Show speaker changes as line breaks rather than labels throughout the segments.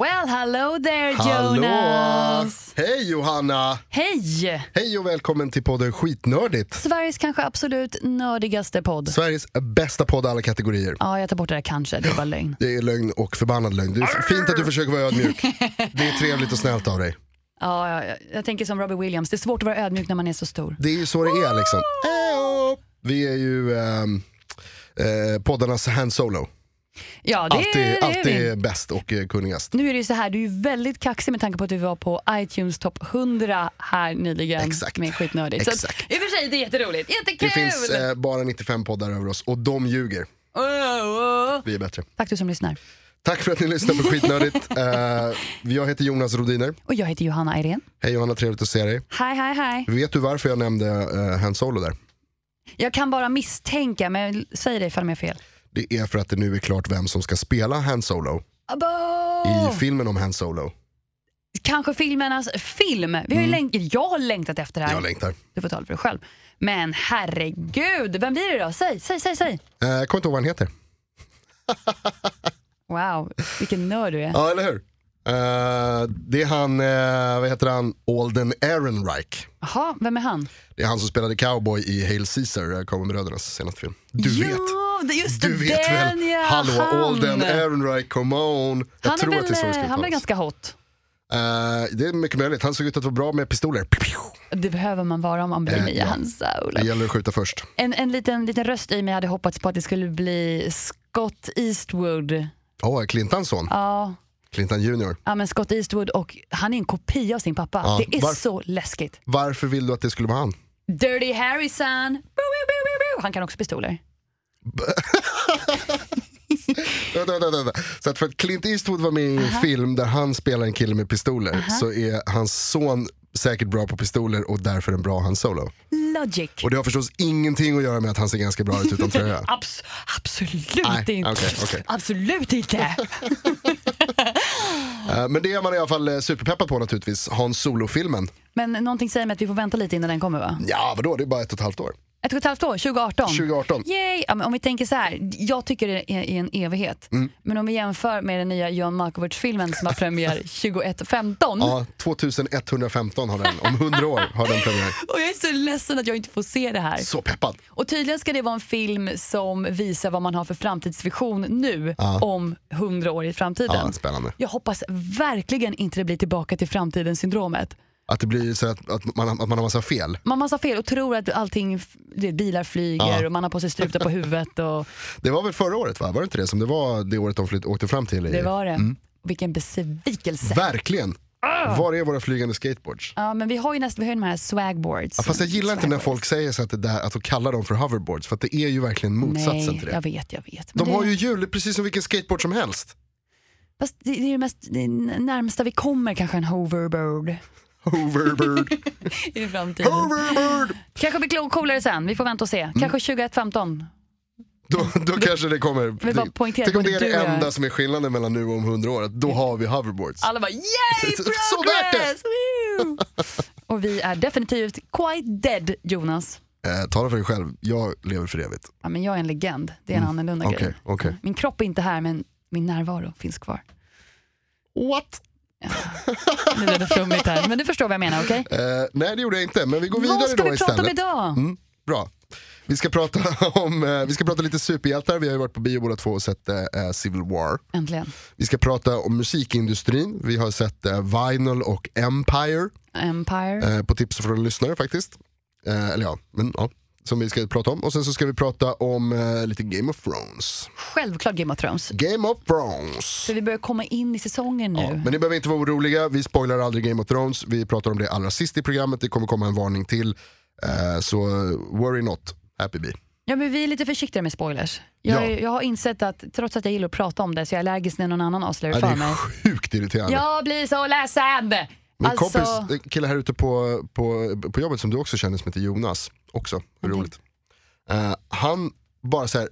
Well, hello there
Hallå!
Jonas!
Hej Johanna!
Hej!
Hej och välkommen till podden Skitnördigt.
Sveriges kanske absolut nördigaste podd.
Sveriges bästa podd alla kategorier.
Ja, jag tar bort det där kanske, det är bara lögn.
Det är lögn och förbannad lögn. Det är fint att du försöker vara ödmjuk. Det är trevligt och snällt av dig.
Ja, ja, ja. jag tänker som Robbie Williams, det är svårt att vara ödmjuk när man är så stor.
Det är ju så det är liksom. Ejo! Vi är ju ehm, eh, poddarnas hand solo.
Ja, det,
Alltid,
det är vi.
alltid bäst och eh, kunnigast.
Nu är det ju så här, du är ju väldigt kaxig med tanke på att du var på iTunes topp 100 här nyligen
Exakt.
med Skitnördigt. Så att-
Exakt.
I och för sig, det är jätteroligt, jättekul!
Det finns eh, bara 95 poddar över oss och de ljuger.
Oh, oh.
Vi är bättre.
Tack du som lyssnar.
Tack för att ni lyssnar på Skitnördigt. Eh, jag heter Jonas Rodiner.
Och jag heter Johanna Irene.
Hej Johanna, trevligt att se dig.
Hej, hej, hej.
Vet du varför jag nämnde uh, Han Solo där?
Jag kan bara misstänka, men säg det ifall jag har fel.
Det är för att det nu är klart vem som ska spela Han Solo
Abba!
i filmen om Han Solo.
Kanske filmernas film. Vi har ju länk- jag har längtat efter det här.
Mm. Jag längtar.
Du får tala för dig själv. Men herregud, vem blir det då? Säg, säg, säg, säg.
Eh, Jag kommer inte ihåg vad han heter.
Wow, vilken nörd du är.
Ja, eller hur? Eh, det är han, eh, vad heter han, Alden Ehrenreich.
Jaha, vem är han?
Det är han som spelade cowboy i Hail Caesar, eh, Kommer brödernas senaste film. Du
ja,
vet.
det är just
Du
den,
vet väl?
Ja,
Hallå,
han.
Alden Ehrenreich, come on. Jag
han är
tror att det är så det
väl,
ska
han blev
uttalas.
ganska hot.
Eh, Det är mycket möjligt. Han såg ut att vara bra med pistoler.
Det behöver man vara om man blir
Eh,
nya
ja.
Hans Solo.
Det gäller att skjuta först.
En, en liten, liten röst i mig hade hoppats på att det skulle bli Scott Eastwood.
Åh, Clintans son.
Ja,
Clintan junior.
ja men Scott Eastwood och han är en kopia av sin pappa.
Ja,
det är
varf-
så läskigt.
Varför vill du att det skulle vara han?
Dirty Harrison. Boo, boo, boo, boo, boo. Han kan också pistoler.
Vänta, vänta, vänta. Så att för att Clint Eastwood var med i en film där han spelar en kille med pistoler så är hans son säkert bra på pistoler och därför en bra Han Solo.
Logic.
Och det har förstås ingenting att göra med att han ser ganska bra ut utan tröja.
Abs- absolut
Nej,
inte.
okej, okej.
Absolut inte.
Eh, Men det är man i alla fall eh, superpeppad på naturligtvis, Hans Solo-filmen.
Men någonting säger mig att vi får vänta lite innan den kommer va?
Ja, vadå, det är bara ett och ett halvt år.
Ett och ett halvt år, 2018.
2018.
Yay! Ja, men om vi tänker så här, jag tycker det är, är en evighet.
Mm.
Men om vi jämför med den nya John Malkovich-filmen som har premiär 2115.
Ja, 2115 har den, om 100 år har den premiär.
Och jag är så ledsen att jag inte får se det här.
Så peppad.
Och tydligen ska det vara en film som visar vad man har för framtidsvision nu om 100 år i framtiden.
Ja, spännande.
Jag hoppas verkligen inte det blir tillbaka till framtiden-syndromet.
Att det blir så att, att, man, att man har massa fel.
Man massa fel och tror att allting, f- det, bilar flyger och man har på sig strutar på huvudet. Och,
Det var väl förra året va? Var det inte det som det var det året de flytt, åkte fram till? I,
det var det.
Mm.
Vilken besvikelse.
Verkligen!
Ah!
Var är våra flygande skateboards?
Ja, men vi har ju nästan, vi har ju de här swagboards.
Ja, fast jag gillar inte när
Swagboards.
folk säger så att, det där, att de kallar dem för hoverboards, för att det är ju verkligen motsatsen
Nej,
till
jag
det.
vet, jag vet. Men
De
det,
har ju hjul, det är precis som vilken skateboard som helst.
fast det, det är ju mest, det är närmsta vi kommer kanske en hoverboard
Hoverboard,
i framtiden.
hoverboard!
Kanske blir klo- coolare sen, vi får vänta och se.
Mm.
Kanske 2015.
Då, då kanske det kommer.
vill bara poängtera
Tänk om
att
det är
både
det
du och jag-
enda som är skillnaden mellan nu och om hundra år, att då har vi hoverboards.
Alla bara yay
Så- så värt det!
progress! Woo! och vi är definitivt quite dead Jonas.
Eh, tala för dig själv, jag lever för evigt.
Ja, men jag är en legend, det är en annorlunda
Mm. Okej,
grej.
okej.
Min kropp är inte här men min närvaro finns kvar.
What?
Nu blev det flummigt här men du förstår vad jag menar okej?
Eh, nej det gjorde jag inte, men vi går vidare
Vad ska
då
vi prata
istället.
om idag?
Mm, bra. Vi ska, prata om, eh, vi ska prata lite superhjältar, vi har ju varit på bio båda två och sett eh, Civil War.
Äntligen.
Vi ska prata om musikindustrin, vi har sett eh, Vinyl och Empire
Empire.
eh, på tips från lyssnare faktiskt. Eh, eller ja, men ja. Som vi ska prata om. Och sen så ska vi prata om eh, lite Game of Thrones.
Självklart Game of Thrones.
Game of Thrones!
För vi börjar komma in i säsongen nu.
Ja, men ni behöver inte vara oroliga, vi spoilar aldrig Game of Thrones. Vi pratar om det allra sist i programmet, det kommer komma en varning till. Eh, så eh, worry not, happy bee.
Ja, men vi är lite försiktigare med spoilers. Jag,
Ja.
jag har insett att trots att jag gillar att prata om det så jag är allergisk när någon annan avslöjar det
Ja, det
för mig.
är sjukt irriterande.
Jag blir så ledsen! Alltså,
Min kompis, en kille här ute på, på, på jobbet som du också känner som heter Jonas, också
Mhm.
roligt. Eh, han bara så här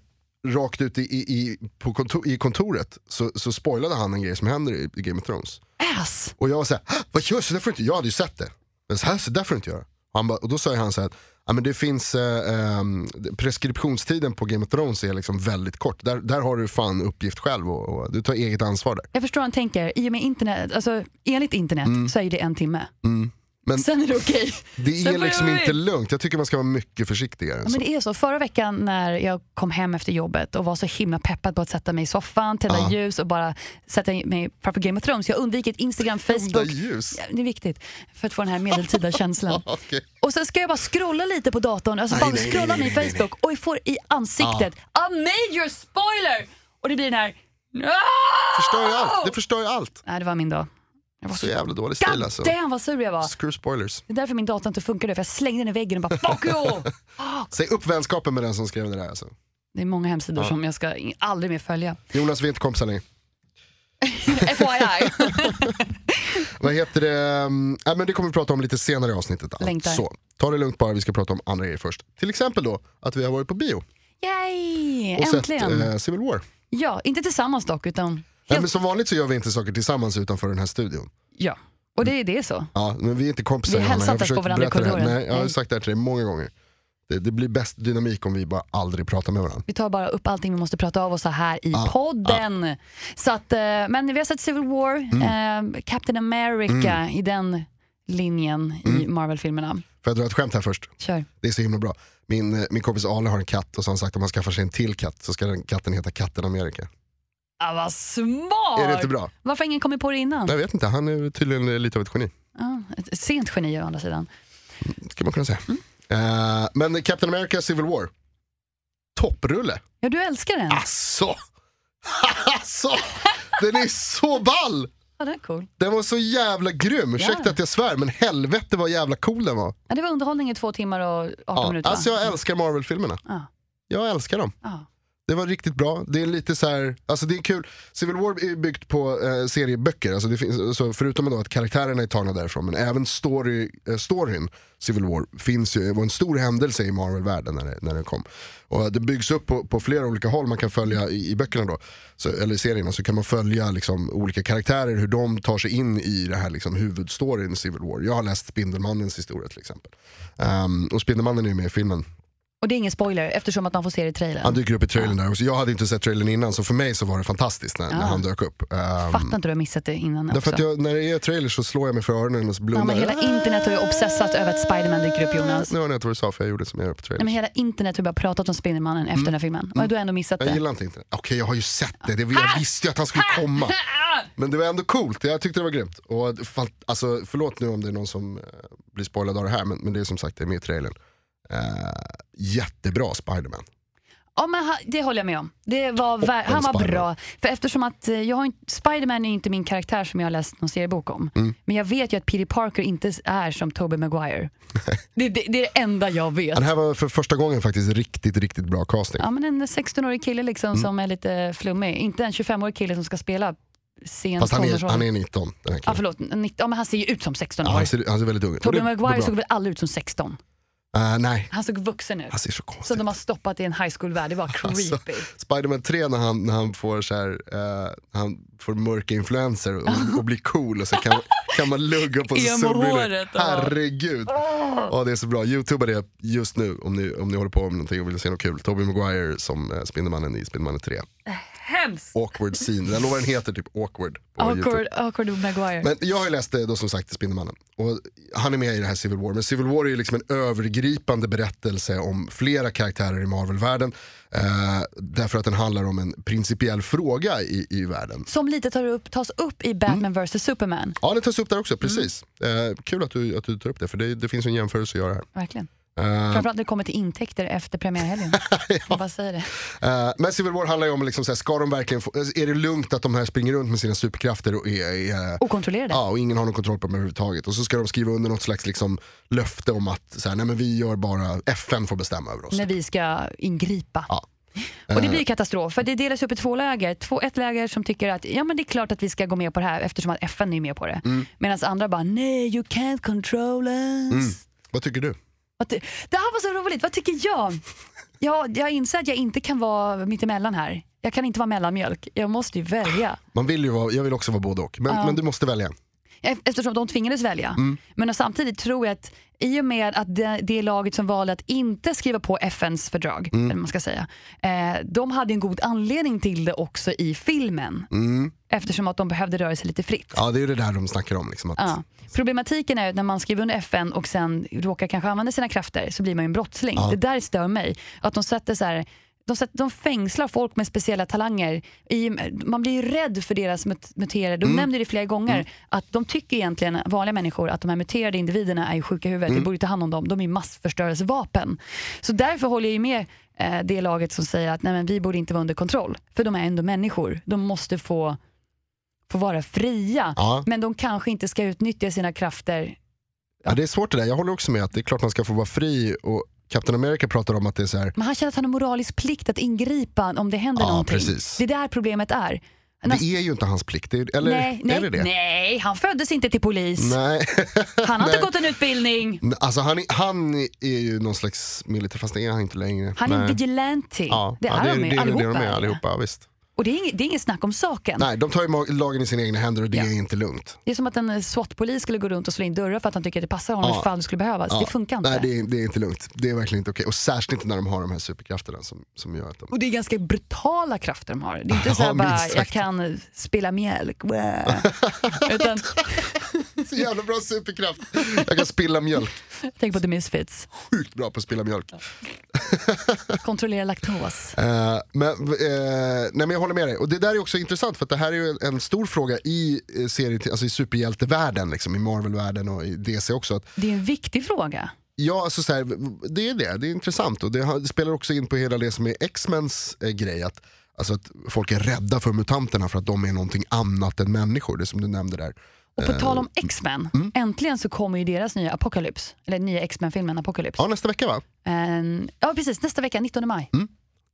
rakt ut i, i, i, på kontor, i kontoret så, så spoilade han en grej som händer i, i Game of Thrones.
Ass!
Och jag var såhär, "Hä? vad gör du? Så där får du inte, jag hade ju sett det. Men så här, så där får du inte göra. Och, han bara, och då sa ju han såhär, ja men det finns, eh, ehm, preskriptionstiden på Game of Thrones är liksom väldigt kort. Där, där har du fan uppgift själv och, och du tar eget ansvar där.
Jag förstår vad han tänker. I och med internet, alltså, enligt internet så är det en timme.
Mm. Men-
Sen är det okej.
Det
Sen
är
får jag
liksom
gå
inte
in.
lugnt, jag tycker man ska vara mycket försiktigare än
Ja,
så.
men det är så. Förra veckan när jag kom hem efter jobbet och var så himla peppad på att sätta mig i soffan, tända ljus och bara sätta mig framför Game of Thrones. Jag har undvikit Instagram, Facebook.
ljus.
Ja, Det är viktigt för att få den här medeltida känslan.
Okej.
Och sen ska jag bara scrolla lite på datorn, alltså bara scrolla min Facebook och jag får i ansiktet a major spoiler! Och det blir den här no!
Ah! Förstör ju allt. Det förstör ju allt.
Nej, det var min dag. Jag var
Så
så
jävla dålig stil alltså.
Damn vad sur jag var.
Screw spoilers.
Det är därför min dator inte funkade, för jag slängde den i väggen och bara fuck you!
Säg upp vänskapen med den som skrev det där alltså.
Det är många hemsidor som jag ska i- aldrig mer följa.
Jonas, vi är inte kompisar längre.
FYI.
Vad heter det? Mm, Nej, men det kommer vi prata om lite senare i avsnittet. alltså.
Längtar.
Så, ta det lugnt bara, vi ska prata om andra grejer först. Till exempel då att vi har varit på bio
Yay!
och
Äntligen.
sett eh, Civil War.
Ja, inte tillsammans dock, utan
Nej,
helt...
men som vanligt så gör vi inte saker tillsammans utanför den här studion.
Ja, och det, det är så.
Ja, men vi är inte kompisar
Vi
Johanna.
hälsar
Jag har
inte ens
försökt
på varandra i
berätta det här.
korridoren.
Nej, jag har
Nej.
sagt det här till dig många gånger. Det, det blir bäst dynamik om vi bara aldrig pratar med varandra.
Vi tar bara upp allting vi måste prata av oss så här i podden. Så att, eh, men vi har sett Civil War,
Mm.
eh, Captain America i den linjen
Mm.
i Marvel-filmerna.
Får jag dra ett skämt här först?
Kör.
Det är så himla bra. Min, eh, min kompis Ale har en katt och så har han sagt att om han skaffar sig en till katt så ska den katten heta Katten Amerika.
Ah, vad smart!
Är det inte bra?
Varför har ingen kommit på det innan?
Jag vet inte, han är tydligen eh, lite av ett geni.
Ja, ett sent geni å andra sidan.
Skulle man kunna säga. Eh, men Captain America Civil War. Topprulle.
Ja, du älskar
Ah.
den.
Asså! Asså! Alltså! Den är så ball!
Ja, den är cool.
Den var så jävla grym, ursäkta
Ja.
att jag svär men helvete vad jävla cool den var.
Ja, det var underhållning i två timmar och 18
Ja.
minuter. va?
Alltså jag älskar Marvel-filmerna.
Ja.
Jag älskar dem.
Ja.
Det var riktigt bra. Det är lite så här, alltså det är kul. Civil War är byggt på eh, serieböcker, alltså det finns, så förutom då att karaktärerna är tagna därifrån, men även story, eh, storyn, Civil War, finns ju, var en stor händelse i Marvel-världen när, det- när den kom. Och det byggs upp på, på flera olika håll, man kan följa i, i böckerna då, så, eller i serierna, så kan man följa liksom, olika karaktärer, hur de tar sig in i det här liksom, huvudstoryn i Civil War. Jag har läst Spindelmannens historia till exempel. Ehm, och Spindelmannen är ju med i filmen.
Och det är ingen spoiler eftersom att man får se det i trailern.
Han dyker upp i trailern där också. Jag hade inte sett trailern innan så för mig så var det fantastiskt när, när han dök upp. Ehm,
Fattar inte du har missat det innan
därför
också.
att jag, när det är trailer så slår jag mig för öronen och så
Ja,
blundar
men hela
jag. Ah,
internet har ju obsessat över att Spiderman dyker upp Jonas.
Nu hörde jag inte vad du sa för jag gjorde som jag gör på
Nej,
trailern.
men hela internet har ju bara pratat om Spindelmannen efter den här filmen. Och du har ändå missat
Mm. Jag
det.
gillar inte internet. Okej jag har ju sett det, det jag visste ju att han skulle komma. Men det var ändå coolt, jag tyckte det var grymt. Och fan, alltså, förlåt nu om det är någon som eh, blir spoilad av det här men, men det är som sagt det är med i trailern. Eh, jättebra Spiderman.
Ja, men ha- det håller jag med om. Det var vär- han var
Spiderman.
bra. För eftersom att eh, jag har inte, Spiderman är ju inte min karaktär som jag har läst någon seriebok om.
Mm.
Men jag vet ju att Peter Parker inte är som Tobey Maguire. det, det, det är det enda jag vet.
Det här var för första gången faktiskt riktigt, riktigt bra casting.
Ja, men en 16-årig kille liksom
Mm.
som är lite flummig. Inte en 25-årig kille som ska spela sen
Fast han är,
tonårsroll.
han är 19 den här
Ja,
killen.
förlåt. 19, ja, men han ser ju ut som 16
Ja,
år.
han, ser, han ser väldigt ung ut.
Tobey
Det- det är
Maguire
bra.
såg väl aldrig ut som 16?
Eh, nej,
Han såg vuxen ut.
han ser så
Så
konstigt
de har stoppat i en high school-värld, det var creepy.
Alltså, Spiderman 3 när han, när han får så här, eh, han får mörka influenser och, och blir cool och så kan, kan man lugga på sig
Emo-håret,
solbrillor.
ja.
Herregud. Ja, det är så bra. Youtubea det just nu om ni, om ni håller på med någonting och vill se något kul. Tobey Maguire som eh, Spindelmannen i Spindelmannen 3.
Äh, Hemskt!
Awkward scene. Jag lovar den heter typ awkward på Youtube.
Awkward, awkward Maguire.
Men jag har ju läst eh, då som sagt Spindelmannen och han är med i det här Civil War. Men Civil War är ju liksom en övergripande berättelse om flera karaktärer i Marvel-världen. Eh, därför att den handlar om en principiell fråga i, i världen.
Som lite tar upp, tas upp i
Mm.
Batman vs Superman.
Ja, det tas upp där också, precis. Eh, kul att du, att du tar upp det, för det, det finns ju en jämförelse att göra här.
Verkligen. Framförallt när det kommer till intäkter efter premiärhelgen. Jag bara säger det.
Eh, men Civil War handlar ju om, liksom, så här, ska de verkligen få, alltså, är det lugnt att de här springer runt med sina superkrafter och är, är eh,
Okontrollerade.
Ja, och ingen har någon kontroll på dem överhuvudtaget. Och så ska de skriva under något slags liksom, löfte om att så här, nej, men vi gör bara, FN får bestämma över oss.
När vi ska ingripa.
Ja.
Och det blir katastrof, för det delas upp i två läger. Två, ett läger som tycker att ja, men det är klart att vi ska gå med på det här eftersom att FN är med på det. Medan andra bara nej, you can't control us.
Vad tycker du?
Vad ty- det här var så roligt, vad tycker jag? jag? Jag inser att jag inte kan vara mittemellan här. Jag kan inte vara mellanmjölk, jag måste ju välja.
Man vill ju vara, jag vill också vara både och, men, men du måste välja.
E- Eftersom de tvingades välja. Men och samtidigt tror jag att i och med att det, det laget som valde att inte skriva på FNs fördrag, eller vad man ska säga, eh, de hade en god anledning till det också i filmen. Eftersom att de behövde röra sig lite fritt.
Ja, det är ju det där de snackar om. Liksom, att,
Ja. Problematiken är ju att när man skriver under FN och sen råkar kanske använda sina krafter så blir man ju en brottsling. Det där stör mig. Att de sätter så här, de, sätter, de fängslar folk med speciella talanger. I, man blir ju rädd för deras mut- muterade. De nämner det flera gånger. Att de tycker egentligen, vanliga människor, att de här muterade individerna är ju sjuka i huvudet. Vi borde ju ta hand om dem. De är ju massförstörelsevapen. Så därför håller jag ju med eh, det laget som säger att nej, men vi borde inte vara under kontroll. För de är ändå människor. De måste få, få vara fria.
Ja.
Men de kanske inte ska utnyttja sina krafter.
Ja, det är svårt det där, jag håller också med att det är klart man ska få vara fri och Captain America pratar om att det är så här,
Men han känner att han har moralisk plikt att ingripa om det händer
Ja,
någonting.
precis.
Det är där problemet är. Han har-
det är ju inte hans plikt, det är, eller
nej,
är
nej,
det det?
nej, han föddes inte till polis.
Nej.
Han har inte
Nej.
gått en utbildning.
Alltså han, är- han är ju någon slags militär, fast det är han inte längre.
Han är en
Nej.
vigilante.
Ja,
det
ja,
är
det,
de
det,
ju.
är väl
allihopa.
det de är
är det.
allihopa. Ja, visst.
Och det är, inget, det är inget snack om saken.
Nej, de tar ju ma- lagen i sina egna händer och det
Ja.
är inte lugnt.
Det är som att en eh, SWAT-polis skulle gå runt och slå in dörrar för att han tycker att det passar honom
Ja.
ifall det skulle behövas.
Ja.
Det funkar inte.
Nej, det är, det är inte lugnt. Det är verkligen inte okej. Och särskilt inte när de har de här superkrafterna som, som gör att de...
Och det är ganska brutala krafter de har. Det är inte så
Ja,
här bara,
minst sagt.
jag kan spela mjölk. Wow. Utan,
Så jävla bra superkraft! Jag kan spilla mjölk.
tänk på The Misfits.
Sjukt bra på att spilla mjölk.
Kontrollera laktos.
Eh, men, eh, nej, men jag håller med dig. Och det där är också intressant för att det här är ju en, en stor fråga i, eh, serien, alltså i superhjältevärlden, liksom, i Marvel-världen och i DC också. Att
Det är en viktig fråga.
Ja, alltså så här, det är det. Det är intressant och det, har- det spelar också in på hela det som är X-Mens eh, grej. Att, alltså att folk är rädda för mutanterna för att de är någonting annat än människor, det som du nämnde där.
Och på tal om X-Men, äntligen så kommer ju deras nya Apocalypse. Eller nya X-Men-filmen Apocalypse.
Ja, nästa vecka va?
En- ja precis, nästa vecka, 19 maj.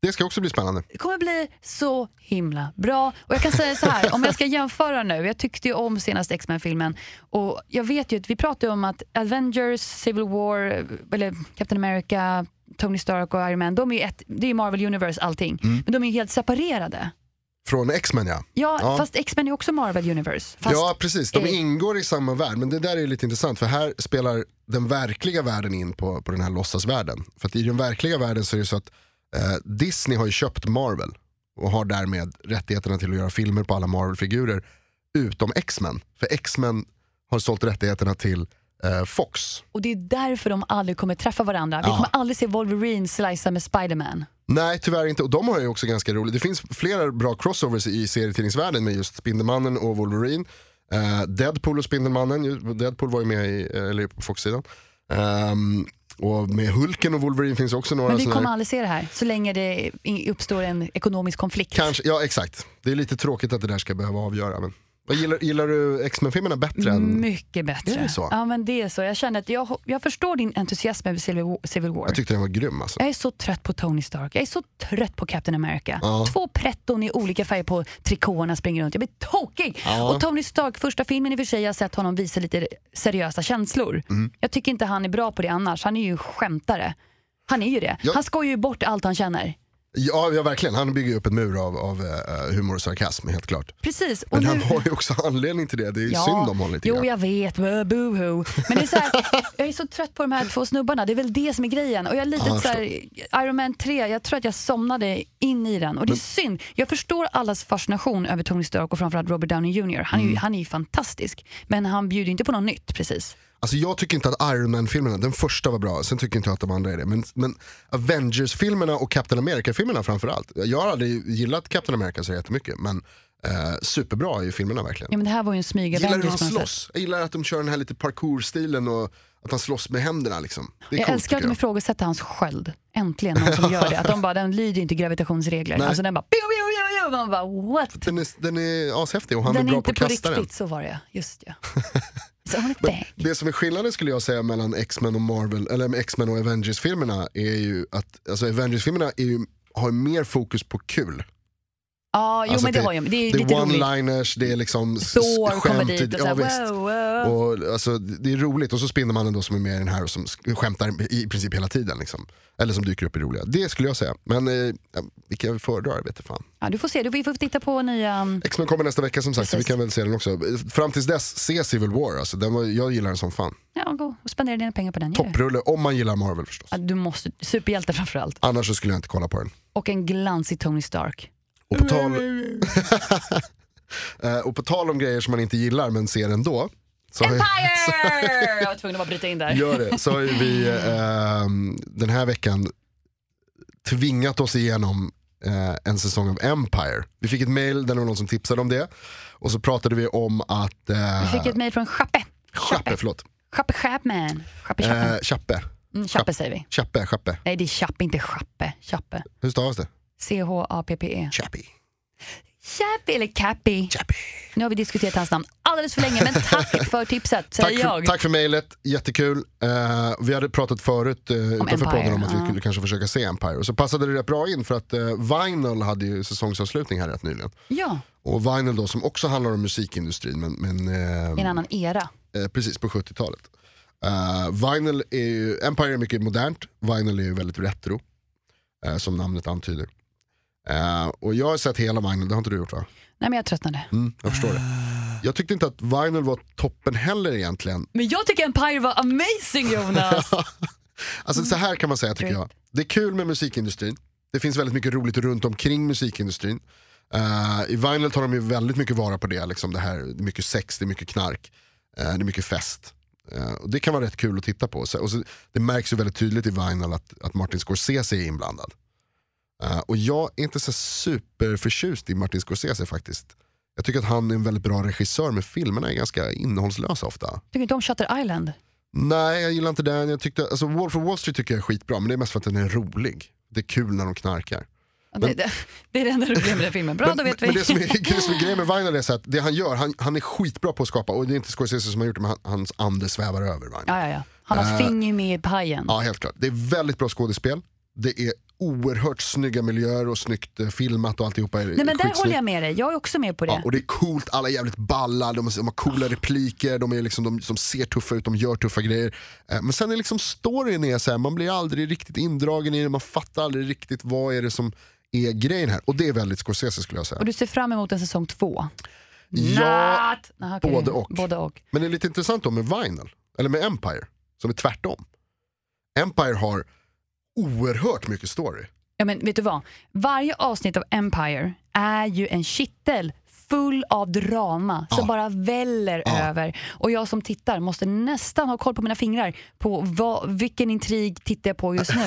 Det ska också bli spännande.
Det kommer bli så himla bra. Och jag kan säga så här, om jag ska jämföra nu. Jag tyckte ju om senaste X-Men-filmen. Och jag vet ju att vi pratade ju om att Avengers, Civil War, eller Captain America, Tony Stark och Iron Man, de är ju ett, det är ju Marvel Universe allting. Men de är ju helt separerade.
Från X-Men ja.
Ja,
Ja.
fast X-Men är också Marvel Universe. Fast,
ja, precis. De
eh,
ingår i samma värld. Men det där är ju lite intressant för här spelar den verkliga världen in på, på den här låtsasvärlden. För att i den verkliga världen så är det så att eh, Disney har ju köpt Marvel och har därmed rättigheterna till att göra filmer på alla Marvel-figurer utom X-Men. För X-Men har sålt rättigheterna till eh, Fox.
Och det är därför de aldrig kommer träffa varandra. Vi
Ja.
kommer aldrig se Wolverine slicea med Spiderman.
Nej, tyvärr inte. Och de har ju också ganska roligt. Det finns flera bra crossovers i serietidningsvärlden med just Spindelmannen och Wolverine. Eh, Deadpool och Spindelmannen. Ju- Deadpool var ju med i, eh, eller på Fox-sidan. Ehm, och med Hulken och Wolverine finns också några
Men vi
såna här-
kommer aldrig se det här så länge det i- uppstår en ekonomisk konflikt.
Kanske, ja exakt. Det är lite tråkigt att det där ska behöva avgöra. Men... Vad Gillar, gillar du X-Men-filmerna bättre än...
Mycket bättre.
Är det så?
Ja, men det är så. Jag känner att jag, jag förstår din entusiasm över Civil War- Civil War.
Jag tyckte den var grym alltså.
Jag är så trött på Tony Stark, jag är så trött på Captain America. Två pretton i olika färger på trikåerna springer runt, jag blir tokig! Och Tony Stark, första filmen i och för sig, jag har sett honom visa lite seriösa känslor.
Mm.
Jag tycker inte han är bra på det annars, han är ju en skämtare. Han är ju det.
Ja.
Han skojar ju bort allt han känner.
Ja, ja verkligen. Han bygger ju upp en mur av, av eh, humor och sarkasm helt klart.
Precis. Och
Men han har ju också anledning till det. Det är ju synd om honom lite
Jo,
grann.
jag vet. Bö, Boo-hoo. Men det är så här, jag är så trött på de här två snubbarna. Det är väl det som är grejen. Och jag är lite
Ja, jag
så här, Iron Man 3, jag tror att jag somnade in i den. Och det är synd. Jag förstår allas fascination över Tony Stark och framförallt Robert Downey Jr. Han är,
Mm.
ju, han är ju fantastisk. Men han bjuder inte på något nytt precis.
Alltså jag tycker inte att Iron Man-filmerna, den första var bra, sen tycker inte jag att de andra är det. Men, men Avengers-filmerna och Captain America-filmerna framförallt. Jag har aldrig gillat Captain America så jättemycket, men eh, superbra i filmerna verkligen.
Ja, men det här var ju en
Jag gillar
smygavändning.
hur han
på något sätt.
slåss. Jag gillar att de kör den här lite parkour-stilen och att han slåss med händerna liksom. Det är
Jag
coolt,
älskar att
tycker
de
jag.
ifrågasätter hans sköld. Äntligen någon som gör det. Att de bara, den lyder ju inte gravitationsregler.
Nej.
Alltså den bara, pew, pew, pew, pew. Man bara what?
Den är, den är ashäftig och han
den
är
är
bra
inte
på
på
att kasta den.
riktigt, så var det ja. Just ja. Så hon är bäng.
Det som är skillnaden skulle jag säga mellan X-Men och Marvel, eller X-Men och Avengers-filmerna är ju att alltså Avengers-filmerna är ju, har ju mer fokus på kul.
Ja, jo
Alltså,
men det, har jag. Det är ju
Det är
lite roligt.
one-liners, det är liksom s-
Thor kommer
skämt. i-
dit och
ja,
så
visst.
här, wow, wow.
Och, alltså, det är roligt och så Spindelmannen då som är med i den här och som sk- skämtar i princip hela tiden. Liksom. Eller som dyker upp i roliga. Det skulle jag säga. Men eh, vilka jag föredrar jag vet inte fan.
Ja, du får se, du, vi får titta på nya... um,
X-Men kommer nästa vecka som sagt så vi
Precis.
kan väl se den också. Fram tills dess, se Civil War. Alltså, den var, jag gillar den som fan.
Ja, gå och spendera dina pengar på den. gör du?
Topprulle om man gillar Marvel förstås.
Ja, du måste, superhjälte framförallt.
Annars så skulle jag inte kolla på den.
Och en glansig Tony Stark.
Och på, tal... Eh, och på tal om grejer som man inte gillar men ser ändå. Så har jag-
Empire! Jag var tvungen att bara bryta in där.
Gör det. Så har ju vi eh, den här veckan tvingat oss igenom eh, en säsong av Empire. Vi fick ett mail där det var någon som tipsade om det. Och så pratade vi om att... Eh,
Jag fick ett mejl från Chappe.
Chappe, förlåt.
Chappe Chapman. Chappe Chapman.
Eh, Chappe.
Mm, Chappe säger vi.
Chappe, Chappe.
Nej, det är Chappe, inte Chappe. Chappe.
Hur stavas det?
C-H-A-P-P-E.
Chappe.
Chappe eller Cappy.
Chappe.
Nu har vi diskuterat hans namn alldeles för länge, men tack för tipset
Tack
säger
för,
jag.
tack för mejlet, jättekul. Eh, vi hade pratat förut eh, utanför
Empire,
podden om att vi
ja.
skulle kanske försöka se Empire. Och så passade det rätt bra in för att eh, Vinyl hade ju säsongsavslutning här rätt nyligen.
Ja,
Och Vinyl då som också handlar om musikindustrin men, men eh,
i en annan era.
eh, precis på 70-talet. Eh, vinyl är ju, Empire är mycket modernt, Vinyl är ju väldigt retro. eh, som namnet antyder. Eh, och jag har sett hela Vinyl, det har inte du gjort va?
Nej, men jag tröttnade.
Mm, jag förstår det. Jag tyckte inte att Vinyl var toppen heller egentligen.
Men jag tycker Empire var amazing Jonas!
Alltså så här kan man säga tycker jag. Det är kul med musikindustrin. Det finns väldigt mycket roligt runt omkring musikindustrin. Eh, I Vinyl tar de ju väldigt mycket vara på det. Liksom det här, det är mycket sex, det är mycket knark, eh, det är mycket fest. Eh, och det kan vara rätt kul att titta på. Så, och så, det märks ju väldigt tydligt i Vinyl att, att Martin Scorsese är inblandad. Eh, och jag är inte så superförtjust i Martin Scorsese faktiskt. Jag tycker att han är en väldigt bra regissör men filmerna är ganska innehållslösa ofta.
Tycker inte om Shutter Island?
Nej, jag gillar inte den. Jag tyckte, alltså Wolf of Wall Street tycker jag är skitbra, men det är mest för att den är rolig. Det är kul när de knarkar.
det, det, det är det enda roliga med den filmen. Bra,
Men,
då
men,
vet vi.
men det som är, det som är grejen med Vinyl är så att det han gör, han, han är skitbra på att skapa, och det är inte Scorsese som har gjort det, men han, hans ande svävar över Vinyl.
Ja, ja, ja. Han har finger med i pajen.
Äh, Ja, helt klart. Det är väldigt bra skådespel, det är oerhört snygga miljöer och snyggt eh, filmat och alltihopa. Är
Nej, men där håller jag med dig. Jag är också med på det.
Ja, och det är coolt, alla är jävligt balla, de, de har
Ah.
coola repliker, de, är liksom, de som ser tuffa ut, de gör tuffa grejer. Eh, Men sen är liksom storyn är så här, man blir aldrig riktigt indragen i det, man fattar aldrig riktigt vad är det som är grejen här. Och det är väldigt Scorsese skulle jag säga.
Och du ser fram emot en säsong två?
Ja,
Natt! Aha, okej.
både och.
Både och.
Men det är lite intressant då med Vinyl, eller med Empire, som är tvärtom. Empire har oerhört mycket story.
Ja, men vet du vad? Varje avsnitt av Empire är ju en kittel full av drama som bara väller över. Och jag som tittar måste nästan ha koll på mina fingrar på vad, vilken intrig tittar jag på just nu.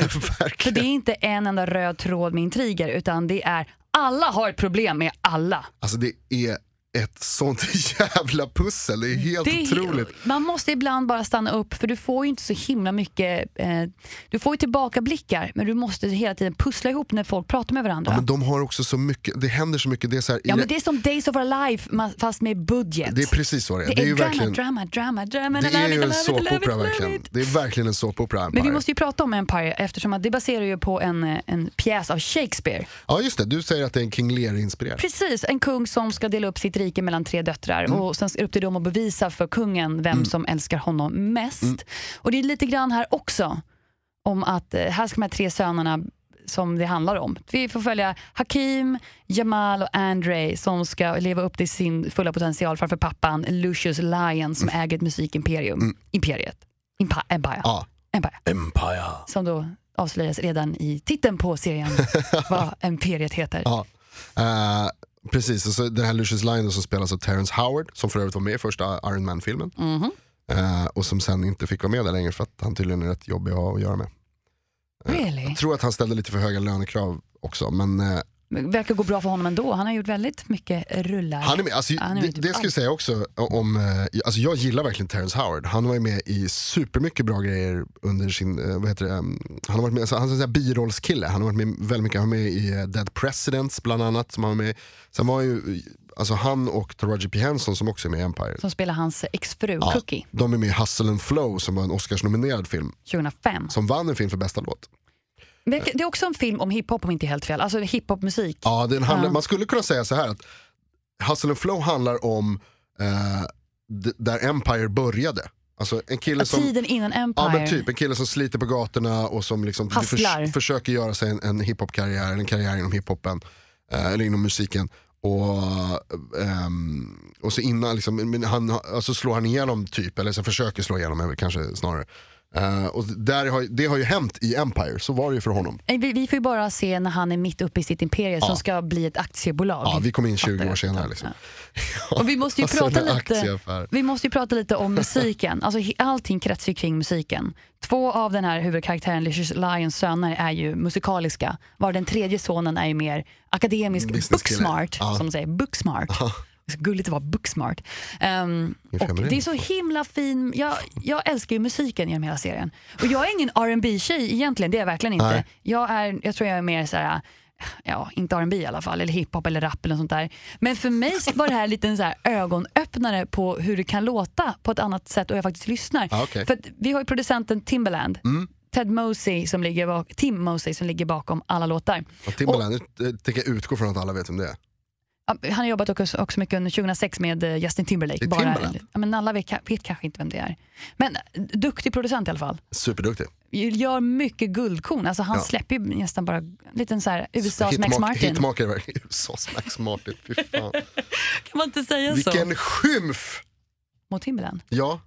För det är inte en enda röd tråd med intriger utan det är alla har ett problem med alla.
Alltså det är ett sånt jävla pussel, det är helt
Det är-
otroligt.
Man måste ibland bara stanna upp för du får ju inte så himla mycket, eh, du får ju tillbakablickar men du måste hela tiden pussla ihop när folk pratar med varandra.
Men de har också så mycket, det händer så mycket. Det är, så här, i
Ja,
det-
men det är som Days of Our Life ma- fast med budget.
Det är precis så det är. Det är,
är
ju
drama,
verkligen,
drama, drama, drama.
det
I love
är
it, I
ju en
love it, I love it, I
såpopera
love
verkligen.
it.
Det är verkligen en såpopera
Men vi
Empire.
måste ju prata om Empire eftersom att det baserar ju på en, eh, en pjäs av Shakespeare.
Ja just det, du säger att det är en King Lear-inspirerad.
Precis, en kung som ska dela upp sitt rike mellan tre döttrar
Mm.
och sen är det upp till dem att bevisa för kungen vem som älskar honom mest.
Mm.
Och det är lite grann här också om att eh, här ska de här tre sönerna som det handlar om. Vi får följa Hakim, Jamal och Andre som ska leva upp till sin fulla potential framför pappan Lucius Lyon som äger ett musikimperium. Imperiet. Impa- Empire.
Mm. Ja.
Empire.
Empire.
Som då avslöjas redan i titeln på serien vad Imperiet heter.
Ja. Eh, precis, och så den här Lucius Lyon som spelas av Terrence Howard, som för övrigt var med i första Iron Man-filmen.
Mhm.
Eh, och som sen inte fick vara med där längre för att han tydligen är rätt jobbig att ha att göra med.
Really?
Jag tror att han ställde lite för höga lönekrav också, men eh,
verkar gå bra för honom ändå. Han har gjort väldigt mycket rullar.
Han är med, alltså,
Han är
det,
med typ
det ska jag
allt.
säga också om, eh, alltså jag gillar verkligen Terrence Howard. Han var ju med i supermycket bra grejer under sin, eh, vad heter det, ehm, han har varit med, alltså, han är en sån här birollskille. Han har varit med väldigt mycket, han var med i eh, Dead Presidents bland annat. Som han var med. i. Sen var ju, alltså han och Roger P. Henson som också är med i Empire.
Som spelar hans exfru
Ja,
Cookie
de är med i Hustle and Flow som var en Oscars-nominerad film.
2005.
Som vann en film för bästa låt.
Men Det är också en film om hiphop om inte helt fel. Alltså hiphopmusik.
Ja, den handlar,
Ja.
Man skulle kunna säga så här att Hustle and Flow handlar om eh, d- där Empire började. Alltså en kille som...
Tiden innan Empire.
Ja men typ, en kille som sliter på gatorna och som liksom
Hustlar.
förs- försöker göra sig en, en hiphop-karriär, en karriär inom hiphopen, eh, eller inom musiken. Och, ehm, och så innan, liksom, men han, alltså slår han igenom typ, eller så försöker slå igenom är väl kanske snarare. Eh, och där har, det har ju hänt i Empire, så var det ju för honom.
Nej, Eh, Vi, vi får ju bara se när han är mitt uppe i sitt imperium som ska bli ett aktiebolag.
Ja, vi kom in 20 år
jag.
senare. Liksom.
Och vi måste ju
Alltså,
prata
en
lite,
aktieaffär.
vi måste ju prata lite om musiken. Alltså, he- allting kretsar ju kring musiken. Två av den här huvudkaraktären, Lucius Lyons söner, är ju musikaliska. Var den tredje sonen är ju mer akademisk,
Businesskille.
booksmart,
Ja.
som de säger. Booksmart. Så gulligt att vara booksmart. Ehm,
Hur
och
feminin.
det är så himla fin, jag, jag älskar ju musiken genom hela serien. Och jag är ingen rb tjej egentligen, det är jag verkligen inte.
Nej.
Jag, är, jag tror jag är mer så här, ja inte R&B i alla fall, eller hiphop eller rap eller något sånt där. Men för mig så var det här en liten så här ögonöppnare på hur det kan låta på ett annat sätt och jag faktiskt lyssnar.
Ja, Ah, okej. Mm.
För att vi har ju producenten Timbaland, Ted Mosey som ligger bak, Tim Mosey som ligger bakom alla låtar.
Och Timbaland, nu eh, tänker jag utgå från att alla vet om det är.
Ja, Han har jobbat också, också mycket under 2006 med eh, Justin Timberlake.
Det är Timberland.
ja, men alla vet, vet kanske inte vem det är. Men eh, duktig producent i alla fall.
Superduktig.
Gör mycket guldkorn. Alltså han
Ja.
släpper ju nästan bara en liten så här USAs Max
Hitmak-
Martin.
Hitmakare verkligen. USAs Max Martin, fy fan.
Kan man inte säga så?
Vilken skymf!
Mot Timberland.
Ja.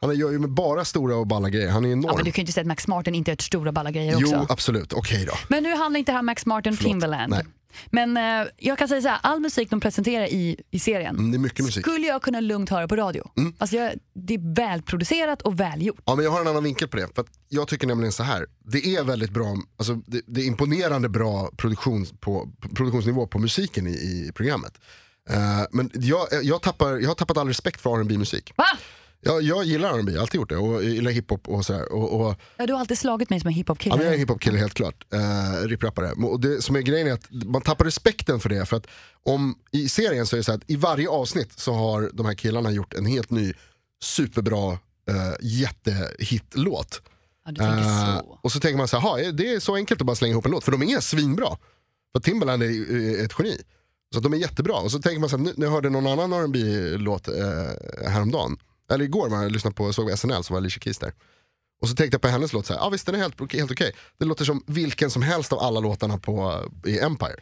Han gör ju med bara stora och balla grejer. Han är
Ja,
enorm.
men du kan ju inte säga att Max Martin inte är ett stora balla grejer
jo,
också.
absolut. Okej då.
Men nu handlar inte det här om Max Martin och
Förlåt.
Timberland.
Nej.
Men eh, jag kan säga så här, all musik de presenterar i, i serien
Mm, det är mycket musik. Mm.
skulle jag kunna lugnt höra på radio. Alltså jag, det är välproducerat och välgjort.
Ja, men jag har en annan vinkel på det. För att jag tycker nämligen så här. Det är väldigt bra, alltså, det, det är imponerande bra produktions, på, produktionsnivå på musiken i, i programmet. Eh, men jag, jag, tappar, jag har tappat all respekt för rb musik
Va?
jag, jag gillar R&B, alltid gjort det. Och jag gillar hiphop och sådär. Och, och,
Ja, du har alltid slagit mig som en
Ja,
hiphop-kille.
men jag är en hiphop-kille helt klart. Uh, Ripprappare. Och det som är grejen är att man tappar respekten för det. För att om, i serien så är det så här att i varje avsnitt så har de här killarna gjort en helt ny superbra uh, jättehit-låt.
Ja, du tänker
Eh,
så.
och så tänker man så här, "Ha, är det är så enkelt att bara slänga ihop en låt. För de är svinbra. För Timbaland är eh, ett geni. Så att de är jättebra. Och så tänker man så här, nu, nu hörde någon annan rb låt eh, häromdagen. Eller igår var jag lyssnade på, såg jag SNL så var Alicia Keys där. Och så tänkte jag på hennes låt, så här, ah, visst den är helt, helt okej. Det låter som vilken som helst av alla låtarna på, eh, i Empire.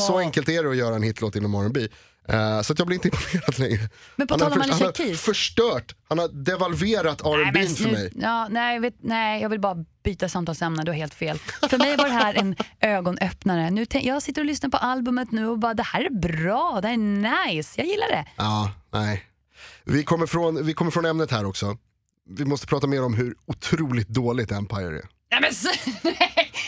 Så enkelt är det att göra en hitlåt inom R&B Eh, Så att jag blir inte imponerad längre.
Men på
Han
tal
har
om
först-
Alicia
Han har
Keys.
förstört, han har devalverat
Nej,
R&B
men
för
nu-
mig.
Ja, nej, jag vet, nej, jag vill bara byta samtalsämne, du har helt fel. För mig var det här en ögonöppnare. Nu tänk, jag sitter och lyssnar på albumet nu och bara, det här är bra, det här är nice, jag gillar det.
Ja, nej. Vi kommer, från, vi kommer från ämnet här också. Vi måste prata mer om hur otroligt dåligt Empire är.
Nej, men, så, nej.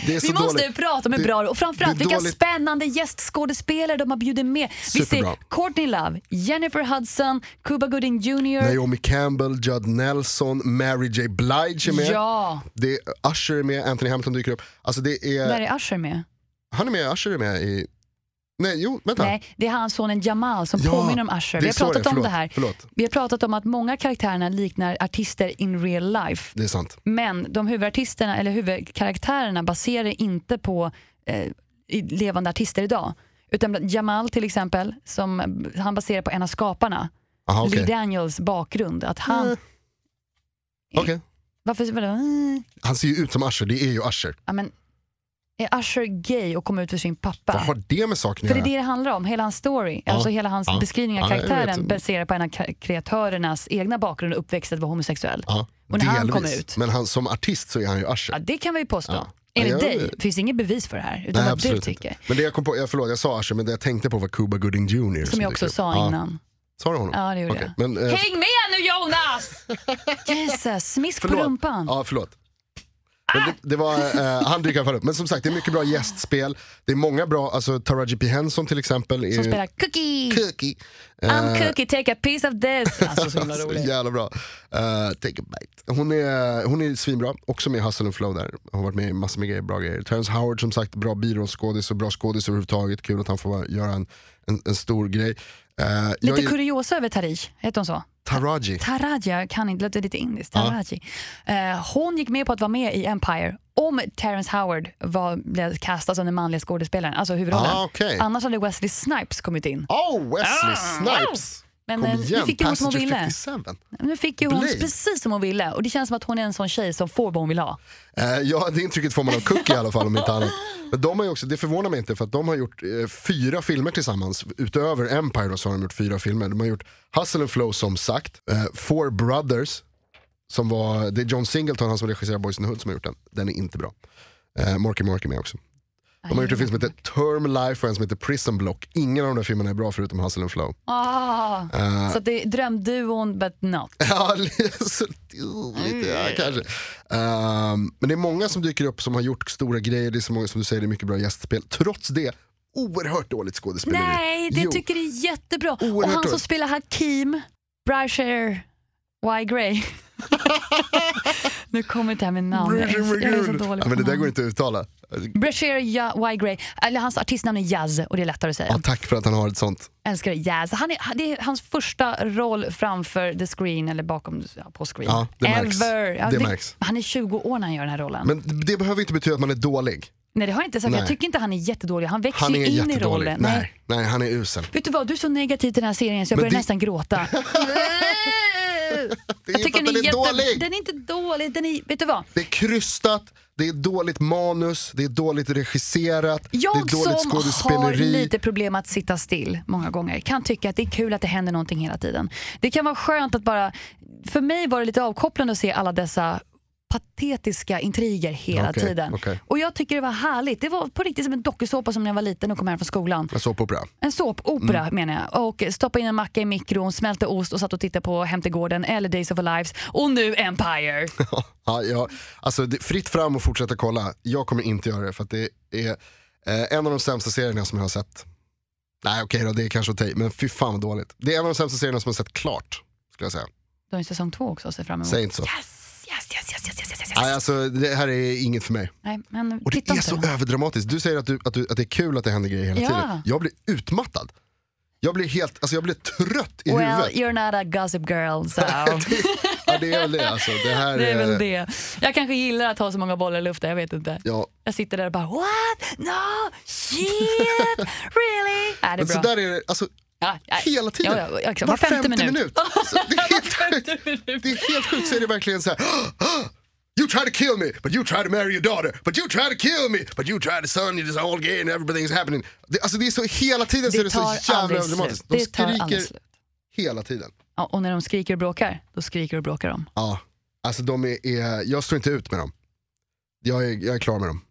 Det är så
vi måste
dåligt.
ju prata om hur
Det-
bra och framförallt
det är
vilka
dåligt.
spännande gästskådespelare de har bjudit med. Vi
Superbra.
ser Courtney Love, Jennifer Hudson, Cuba Gooding Jr.
Naomi Campbell, Judd Nelson, Mary J Blige är med.
Ja,
Det är, Usher är med, Anthony Hamilton dyker upp. Alltså det är,
där är Usher med.
Han är med, Usher är med i... Nej, jo, vänta.
Nej, det är han sonen Jamal som
Ja,
påminner om Usher.
det
Vi
är
har
så
pratat
det är.
om det
Förlåt,
här.
förlåt.
Vi har pratat om att många av karaktärerna liknar artister in real life.
Det är sant.
Men de huvudartisterna, eller huvudkaraktärerna baserar inte på eh, i- levande artister idag. Utan Jamal till exempel, som han baserar på en av skaparna.
Aha, Ah, okej.
Lee Daniels bakgrund. Att han,
Mm. Okej.
varför, vadå? Mm.
Han ser ju ut som Usher, det är ju Usher.
Ja, men, är Usher gay och kom ut för sin pappa?
Vad har det med saken
För
att
det är
göra?
det det handlar om, hela hans story.
Ja,
Alltså hela hans
ja,
beskrivning av
ja, jag
karaktären
vet.
baserar på en av kar- kreatörernas egna bakgrund och uppväxt att vara homosexuell.
Ja,
Och när han
delvis.
kom ut.
Men han, som artist så är han ju Usher.
Ja, det kan vi ju påstå.
Ja.
Enligt
Ja, jag-
dig finns inget bevis för det här, utan vad du
absolut
tycker.
inte. Men det jag kom på, jag, förlåt jag sa Usher, men det jag tänkte på var Cuba Gooding Jr.
Som jag också
dyker upp.
sa innan.
Sa du honom?
Ja, det gjorde
Okej,
jag.
Men, eh,
Häng med nu Jonas! Jesus, smisk på
förlåt.
rumpan.
Ja, förlåt. Men det, det var, eh, han dyker i alla fall upp. Men som sagt, det är mycket bra gästspel. Det är många bra, alltså Taraji P. Henson till exempel. Är
Som
ju-
spelar Cookie,
Cookie. Eh,
I'm Cookie, take a piece of this. Alltså så himla
Så
rolig.
jävla bra. Eh, take a bite. Hon är, hon är svinbra, också med i Hustle and Flow där. Hon har varit med i massor med grejer, bra grejer. Terrence Howard som sagt, bra birollskådis och bra skådis överhuvudtaget. Kul att han får vara- göra en, en, en stor grej. Eh, jag
Lite
gillar
kuriosa över Tari, heter hon så?
Taraji.
Taraji, jag kan inte, låter lite indiskt. Taraji. Eh, hon gick med på att vara med i Empire om Terrence Howard var, blev castad som den manliga skådespelaren, alltså huvudrollen.
Ah, okej.
Annars hade Wesley Snipes kommit in.
Oh, Wesley Snipes!
Ah! Men,
Kom
eh, nu
igen,
fick ju hon som hon
Passenger
ville.
57.
Nu fick ju hon
Blade.
precis som hon ville och det känns som att hon är en sån tjej som får vad hon vill ha.
Eh, ja, det intrycket får man av Cookie i alla fall om inte annat. Men de har ju också, det förvånar mig inte för att de har gjort eh, fyra filmer tillsammans. Utöver Empire då, så har de gjort fyra filmer. De har gjort Hustle and Flow som sagt, eh, Four Brothers, som var, det är John Singleton, han som regisserar Boys in the Hood som har gjort den. Den är inte bra. Eh, Morky Morky med också. De har gjort en film som heter Term Life och en som heter Prison Block. Ingen av de där filmerna är bra förutom Hustle and Flow.
Ah,
Eh.
Så att det är drömduon but not.
Ja, så- lite ja,
Mm.
kanske. Ehm, men det är många som dyker upp som har gjort stora grejer, det är så många som du säger, det är mycket bra gästspel. Trots det, oerhört dåligt skådespeleri.
Nej, det
Jo,
tycker det är jättebra. och
Oerhört
han som
dåligt.
spelar Hakim, Brasher Y. Gray. nu kommer det här med namn. Jag är, så- jag är så dålig
ja,
på
men det där
namn.
går inte att uttala.
Brasher Y. Gray, eller hans artistnamn är Jazz och det är lättare att säga.
Ja, tack för att han har ett sånt.
Älskar det, Jazz. Han är, han- det är hans första roll framför the screen, eller bakom, ja, på screen.
Ja, det märks.
Ever.
Det märks.
Han är 20 år när han gör den här rollen.
Men det behöver inte betyda att man är dålig.
Nej det har jag inte sagt, jag
Nej.
tycker inte han är jättedålig. Han växer
Han är
ju in i
jättedålig.
rollen.
Nej, nej, han är usel.
Vet du vad, du är så negativ till den här serien så jag
Men
börjar
det-
nästan gråta.
Det är ju för att den är dålig.
Den är inte dålig, den är, vet du vad?
Det är krystat, det är dåligt manus, det är dåligt regisserat, det är
Jag som
dåligt
har
skådespeleri.
lite problem att sitta still många gånger kan tycka att det är kul att det händer någonting hela tiden. Det kan vara skönt att bara, för mig var det lite avkopplande att se alla dessa patetiska intriger hela
Okej,
tiden.
okej.
Och jag tycker det var härligt. Det var på riktigt som en dokusåpa som när jag var liten och kom hem från skolan.
Jag såg på opera.
En såpopera
Mm.
menar jag. Och stoppa in en macka i mikron, smälte ost och satt och tittade på Hem till gården eller Days of Our Lives. Och nu Empire.
Ja, ja, alltså, det, fritt fram och fortsätta kolla. Jag kommer inte göra det för att det är eh, en av de sämsta serierna som jag har sett. Nej okej då, det är kanske okej, men fy fan vad dåligt. Det är en av de sämsta serierna som jag har sett klart. Skulle jag säga.
Du har ju säsong två också att se fram emot.
Säg inte så.
Yes, yes, yes, yes, yes, yes, yes, yes.
Nej, alltså, det här är inget för mig.
Nej, men
Och det
titta
är
inte.
så överdramatiskt. Du säger att, du, att, du, att det är kul att det händer grejer hela
Ja.
tiden. Jag blir utmattad. Jag blir helt, alltså jag blir trött i
Well,
huvudet.
you're not a gossip girl, so.
Ja, det är väl det alltså. Det här
det är
är-
väl det. Jag kanske gillar att ha så många bollar i luften, jag vet inte.
Ja,
Jag sitter där och bara what? No, shit, really? Nej, det är
men så
bra.
där är det, alltså
Ja, ja.
Hela tiden.
Ja, ja, exakt. Var femte minut.
Alltså, det, är helt sjukt. det är helt sjukt så är det verkligen så här. "Ah, You try to kill me, but you try to marry your daughter, but you try to kill me, but you try to son, you just all gay and everything's happening. Det, alltså det är så hela tiden så är
Det
det så
tar
jävla
aldrig slut.
överdramatiskt. De
Det tar aldrig
skriker
slut.
hela tiden.
Ja, och när de skriker och bråkar, då skriker och bråkar de.
Ja, alltså de är, är, jag står inte ut med dem. Jag är, jag är klar med dem.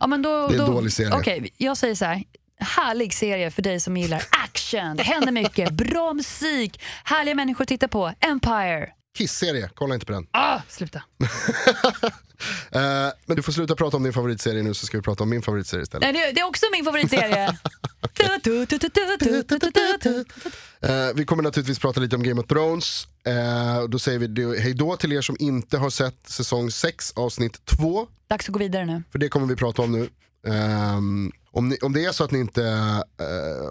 Ja, men då,
Det är en
då,
dålig serie.
Okej, jag säger så här. Härlig serie för dig som gillar action. Det händer mycket, bra musik, härliga människor att titta på. Empire.
Kiss-serie, kolla inte på den.
Ah, sluta.
Eh, men du får sluta prata om din favoritserie nu så ska vi prata om min favoritserie istället.
Nej, det, det är också min favoritserie. Tu, tu, tu, tu, tu, tu, tu, tu, tu.
Eh, vi kommer naturligtvis prata lite om Game of Thrones. Eh, och då säger vi det- hej då till er som inte har sett säsong 6 avsnitt 2.
Dags att gå vidare nu.
För det kommer vi prata om nu. Ehm, om, ni, om det är så att ni inte, eh,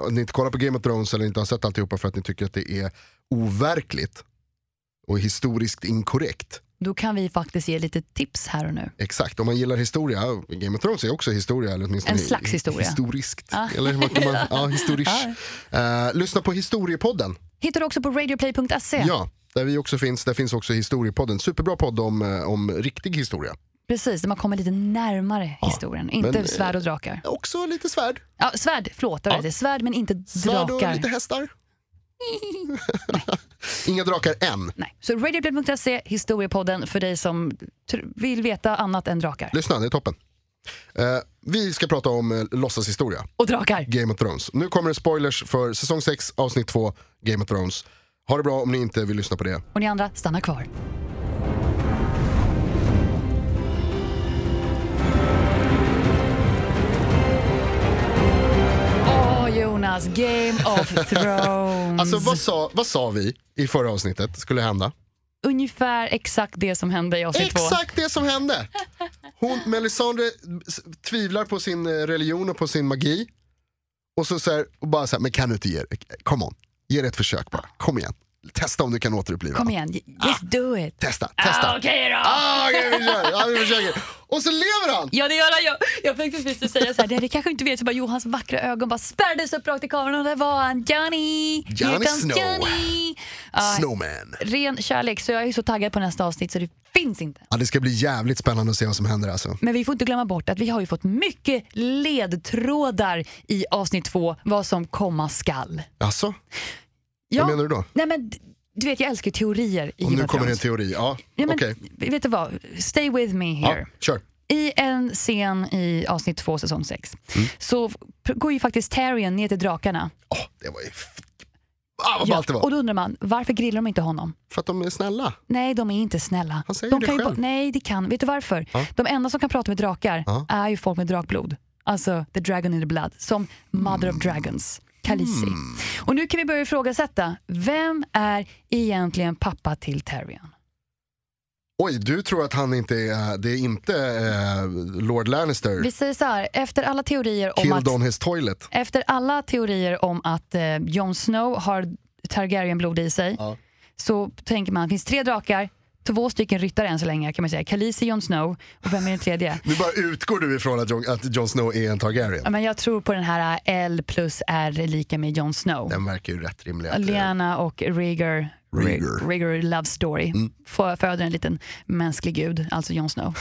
att ni inte kollar på Game of Thrones eller inte har sett alltihopa för att ni tycker att det är overkligt och historiskt inkorrekt.
Då kan vi faktiskt ge lite tips här och nu.
Exakt, om man gillar historia, Game of Thrones är också historia. Eller åtminstone
En slags historia.
Historiskt. Eller vad kan man, ja, historiskt. Eh, lyssna på historiepodden.
Hittar du också på radioplay.se.
Ja, där vi också finns. Där finns också historiepodden. Superbra podd om, eh, om riktig historia.
Precis, där man kommer lite närmare historien. Inte
men, eh,
svärd och drakar.
Också lite svärd.
Ja, svärd, förlåt. Ja. Det. Svärd men inte
Svärd och
drakar.
lite hästar. Inga drakar än.
Nej. Så radioplay.se, historiepodden för dig som tr- vill veta annat än drakar.
Lyssna, det är toppen. Eh, vi ska prata om eh, låtsashistoria,
Och drakar!
Game of Thrones. Nu kommer det spoilers för säsong 6, avsnitt 2, Game of Thrones. Ha det bra om ni inte vill lyssna på det.
Och ni andra, stanna kvar. Jonas, Game of Thrones.
Alltså vad sa, vad sa vi i förra avsnittet skulle hända?
Ungefär exakt det som hände i avsnitt Typ två.
Exakt det som hände! Hon, Melisandre s- tvivlar på sin eh, religion och på sin magi. Och så, så här, och bara så här, men kan du inte ge Come on, ge det ett försök bara. Kom igen. Testa om du kan återuppliva
Kom
honom.
igen, just do it.
Testa, testa.
Ah, Okej då!
Ah, okej, vi kör. Ja, vi försöker. Och så lever han!
Ja det gör han. Jag, jag tänkte precis säga så här, det, det kanske inte vet, så bara Johans vackra ögon bara spärrades upp rakt i kameran och där var han, Johnny! Here
Johnny
comes
Snow.
Johnny. Ah, Ja,
Snowman.
ren kärlek, så jag är så taggad på nästa avsnitt så det finns inte.
Ja, det ska bli jävligt spännande att se vad som händer alltså.
Men vi får inte glömma bort att vi har ju fått mycket ledtrådar i avsnitt två, vad som komma skall.
Alltså,
Ja,
menar du då?
Nej, men, d- du vet, jag älskar ju teorier i
och
Game
nu
of
kommer det en
Thrones.
teori. Ja,
Ja, men,
okej.
Vet du vad? Stay with me here.
Ja, kör.
I en scen i avsnitt två, säsong sex,
Mm.
så f- går ju faktiskt Tyrion ner till drakarna.
Åh, det var ju... f- Ah, vad
Ja,
ballt det
Och
var.
då undrar man, varför grillar de inte honom?
För att de är snälla.
Nej, de är inte snälla.
Han säger
de
det
kan ju
själv.
ba- nej, det kan. Vet du varför? De enda som kan prata med drakar
Ja.
är ju folk med drakblod. Alltså the dragon in the blood, som mother of dragons, Khaleesi.
Mm.
Och nu kan vi börja ifrågasätta, vem är egentligen pappa till Tyrion?
Oj, du tror att han inte är, det är inte eh, Lord Lannister
Vi säger så här, efter alla teorier om
killed
att...
on his toilet.
Efter alla teorier om att eh, Jon Snow har Targaryen-blod i sig
Ja.
så tänker man, det finns tre drakar, två stycken ryttare än så länge kan man säga. Khaleesi, Jon Snow och vem är den tredje?
Nu bara utgår du ifrån att Jon, att Jon Snow är en Targaryen.
Ja, men jag tror på den här äh, L plus R är lika med Jon Snow.
Den verkar ju rätt rimlig. att det är-
Lyanna och Rhaegar,
Rhaegar.
Rhaegar. Love Story
Mm.
För- föder en liten mänsklig gud, alltså Jon Snow.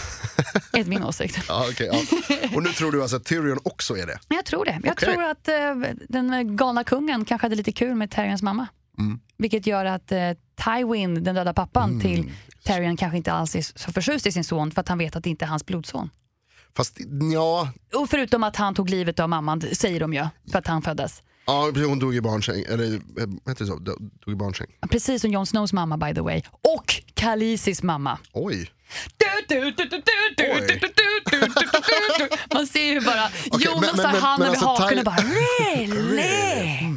Enligt min åsikt.
Ja, okej, ja. Och nu tror du alltså att Tyrion också är det?
Men jag tror det. Jag
Okej.
tror att eh, den galna kungen kanske hade lite kul med Tyrions mamma.
Mm.
Vilket gör att eh, Tywin, den döda pappan till Tyrion, kanske inte alls är så förtjust i sin son för att han vet att det inte är hans blodson.
Fast ja,
Och förutom att han tog livet av mamman, säger de ju, för att han föddes.
ja precis, hon dog i barnsäng. Eller eh, heter det så? Do- Dog i barnsäng.
Precis som Jon Snows mamma by the way. Och Khaleesis mamma.
Oj.
Man ser ju bara Jonas
men- men-
har handen
men
över
alltså,
hakan
Ty-
och bara really?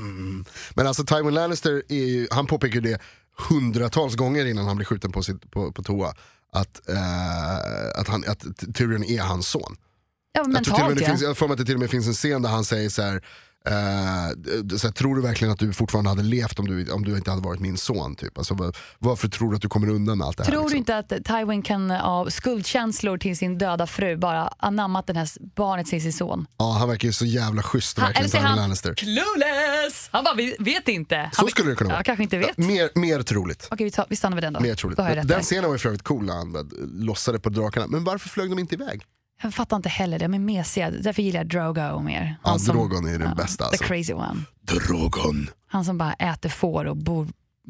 Men alltså Tywin Lannister, är ju, han påpekar ju det hundratals gånger innan han blir skjuten på, sitt, på, på toa. Att, eh, att, han, att Tyrion är hans son.
Ja,
Jag tror till och med
mentalt
det
ja.
finns, jag har för mig att det till och med finns en scen där han säger så här. eh, d- så här, tror du verkligen att du fortfarande hade levt om du, om du inte hade varit min son? Typ? Alltså, va- varför tror du att du kommer undan med allt det här?
Tror du inte
liksom?
att Tywin kan eh, av skuldkänslor till sin döda fru bara anammat den här s- barnet till sin son?
Ja, han verkar ju så jävla schysst
Han, eller
verkligen,
så är
Tywin
han
Lannister.
clueless! Han bara, vi vet inte. Han
Så
vet-
skulle det kunna vara.
Ja, kanske inte vet.
Mer, mer troligt.
Okej, vi, tar, vi stannar vid den då.
Mer troligt.
då har jag, rätt
Den
där.
scenen var ju för övrigt cool när han eh, lossade på drakarna. Men varför flög de inte iväg?
jag fattar inte heller, de är mesiga. Därför gillar jag Drogo mer.
Ja,
som-
Drogon är den bästa, alltså.
The crazy one.
Drogon.
Han som bara äter får och bor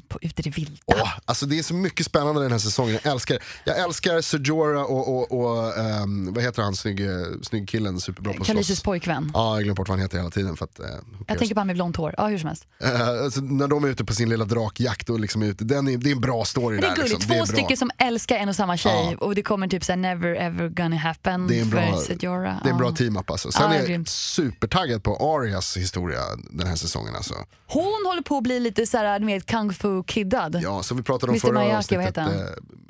på, ute i det vilda.
Åh, alltså det är så mycket spännande den här säsongen. Jag älskar, jag älskar Sejora och, och, och ehm, vad heter han, snygg, eh, snygg killen, superbra på att
Khaleesis
slåss.
pojkvän.
Ja, jag glömmer bort vad han heter hela tiden. För att, eh, who
Jag
cares?
tänker på han med blont hår. Ja, hur som helst.
Eh, alltså, när de är ute på sin lilla drakjakt, och liksom är ute, den är, det är en bra story.
Men det är
där,
gulligt,
liksom.
två
det är bra.
stycken som älskar en och samma tjej
Ja.
och det kommer typ såhär never ever gonna happen
Det är en bra,
för Sejora.
det är en bra
Ja.
team-up alltså. Sen
Ja,
är jag
grymt.
supertaggad på Arias historia den här säsongen alltså.
Hon håller på att bli lite såhär, med kung fu kiddad.
Ja, så vi pratade om
Mr.
förra
Miyake, vad
avsnittet.
heter han?
eh,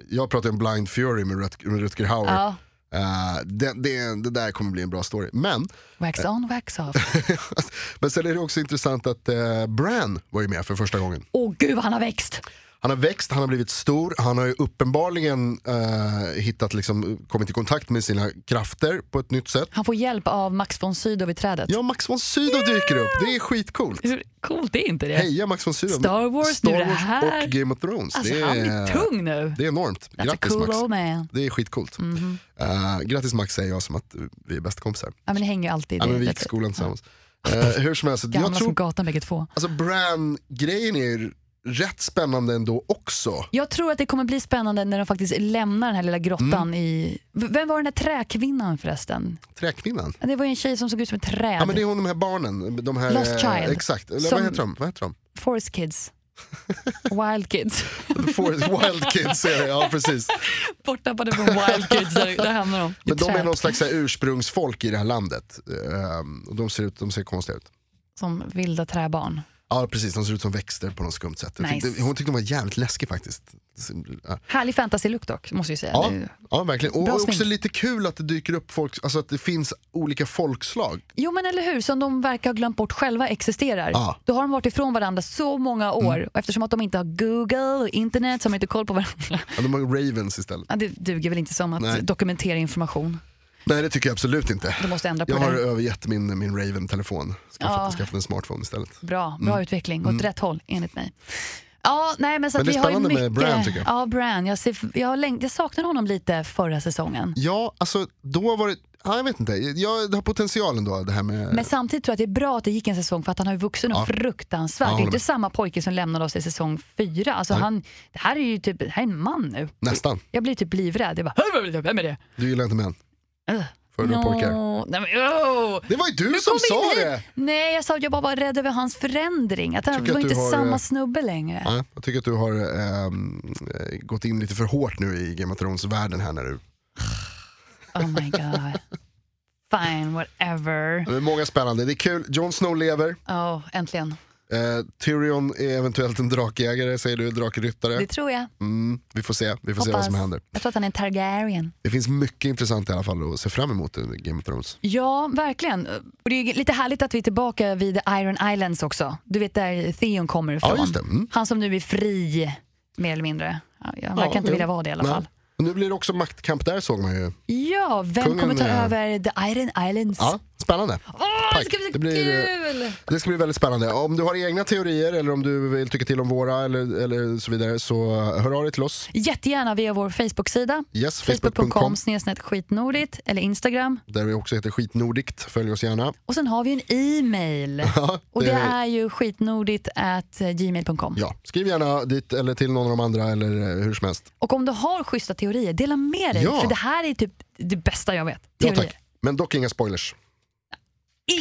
jag pratade om Blind Fury med, Rut med Rutger Hauer.
Ja.
Eh, det, det, det där kommer bli en bra story. Men,
Wax
Eh.
on, wax off.
men sen är det också intressant att eh, Bran var ju med för första gången.
Åh gud vad han har växt!
Han har växt, han har blivit stor, han har ju uppenbarligen eh, hittat, liksom, kommit i kontakt med sina krafter på ett nytt sätt.
Han får hjälp av Max von Sydow vid trädet.
Ja, Max von Sydow dyker upp, det är skitcoolt.
Hur coolt är inte det?
Heja Max von Sydow.
Star Wars,
Star
nu det
Wars
här.
och Game of Thrones.
alltså
det,
han blir
är,
tung nu.
det är enormt.
That's a
Grattis
cool
Max.
old man.
Det är skitcoolt. Eh, grattis Max säger jag som att vi är bästa kompisar.
Ja, men det hänger ju alltid i
Ja,
det.
men vi gick i skolan tillsammans. Eh, hur som helst,
Gamla
jag
som
tror,
gatan bägge två.
alltså Bran-grejen är ju rätt spännande ändå också.
Jag tror att det kommer bli spännande när de faktiskt lämnar den här lilla grottan
Mm.
i... V- Vem var den där träkvinnan förresten?
Träkvinnan.
Ja, Det var ju en tjej som såg ut som ett träd.
Ja men det är hon de här barnen. De här,
Lost
eh,
Child.
Exakt, eller
Som-
vad heter de? Vad heter de?
Forest kids. Wild kids.
The Forest Wild Kids är det, ja precis.
Borttappade från wild kids, där, där hamnar de.
Men de
Trä.
är någon slags så här, ursprungsfolk i det här landet. Eh, och de ser, ut, de ser konstiga ut.
Som vilda träbarn.
Ja precis, de ser ut som växter på något skumt sätt. Jag
Nice.
tyckte- Hon tyckte de var jävligt läskig faktiskt. Så- ja.
Härlig fantasy-look dock, måste jag ju säga.
Ja,
Det är ju-
ja verkligen. Och
Bra
också
smink.
lite kul att det dyker upp folk, alltså att det finns olika folkslag.
Jo men eller hur, som de verkar ha glömt bort själva existerar.
Ja. Mm.
Då har de varit ifrån varandra så många år och eftersom att de inte har Google och internet så har de inte koll på varandra.
Ja, de har ju ravens istället.
Ja, det duger väl inte som att
Nej.
dokumentera information.
Nej det tycker jag absolut inte.
Du måste ändra på
Jag har
det.
övergett min, min raven-telefon. Ska
Ja.
skaffa en smartphone istället.
Bra, bra utveckling, åt rätt håll enligt mig. Ja, nej, men så
Mm. Men
att
det är
vi har ju
spännande
mycket...
med Bran, tycker jag.
Ja, Bran. Jag, ser, jag, har läng- jag saknade honom lite förra säsongen.
Ja, alltså då var det, ja, jag vet inte, jag, det har potentialen då det här med...
Men samtidigt tror jag att det är bra att det gick en säsong för att han har ju vuxit
Ja.
ja. fruktansvärt.
Ja,
det är
håller
inte
med.
samma pojke som lämnade oss i säsong fyra. Alltså han, det här är ju typ, det här är en man nu.
Nästan,
Jag blir typ livrädd. Jag bara, vem är det?
du gillar inte män.
Ugh.
Föredrar pojkar.
Nej, men, oh.
Det var ju du
Nu
som
kom vi
sa
in
det!
hit. Nej, jag sa att jag bara var rädd över hans förändring. Att han
Tycker
var
att du
inte
har, eh,
samma snubbe längre.
Ja, jag tycker att du har ehm, eh, gått in lite för hårt nu i Game of Thrones-världen här när du...
Oh my god. Fine, whatever.
Det är många spännande, det är kul. Jon Snow lever,
Oh, äntligen.
eh, Tyrion är eventuellt en drakjägare, säger du,
Det
drakryttare.
tror jag.
Mm, vi får se, vi får se vad
Hoppas.
som händer.
Jag tror att han är en Targaryen. Det-
Det finns mycket intressant i alla fall att se fram emot i Game of Thrones.
Ja, verkligen. Och det är lite härligt att vi är tillbaka vid Iron Islands också. Du vet där Theon kommer ifrån.
Ja, just det. Mm.
Han som nu är fri, mer eller mindre. Ja, Jag
Ja,
verkar inte
jo.
vilja vara det i alla
Nej.
fall.
Och nu blir det också maktkamp där såg man ju.
Ja, vem
Kungen
kommer ta
är-
över The Iron Islands?
Ja, spännande.
Åh, det ska bli
Tack.
så
Det blir, eh,
kul!
Det ska bli väldigt spännande. Om du har egna teorier eller om du vill tycka till om våra eller, eller så vidare så hör av dig till oss.
Jättegärna via vår Facebook-sida.
Yes,
Facebook.com
facebook.com
snedstreck skitnordigt eller Instagram.
där vi också heter skitnordigt. Följ oss gärna.
Och sen har vi en e-mail.
Ja,
Och
det-
det är ju skitnordigt at gmail.com.
Ja, skriv gärna dit eller till någon av de andra eller eh, hur som helst.
Och om du har schyssta teorier, dela med dig.
Ja.
För det här är typ det bästa jag vet.
Ja,
Teorier.
tack. Men dock inga spoilers.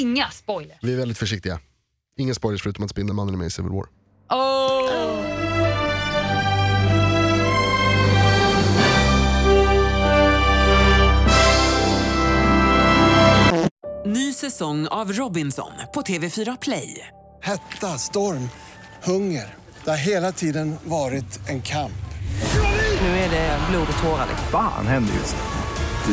Inga spoilers.
Vi är väldigt försiktiga. Inga spoilers förutom att Spindelmannen är med i Civil War.
Oh.
Ny säsong av Robinson på TV4 Play.
Hetta, storm, hunger. Det har hela tiden varit en kamp.
Nu är det blod och tårar. liksom.
Fan händer just det.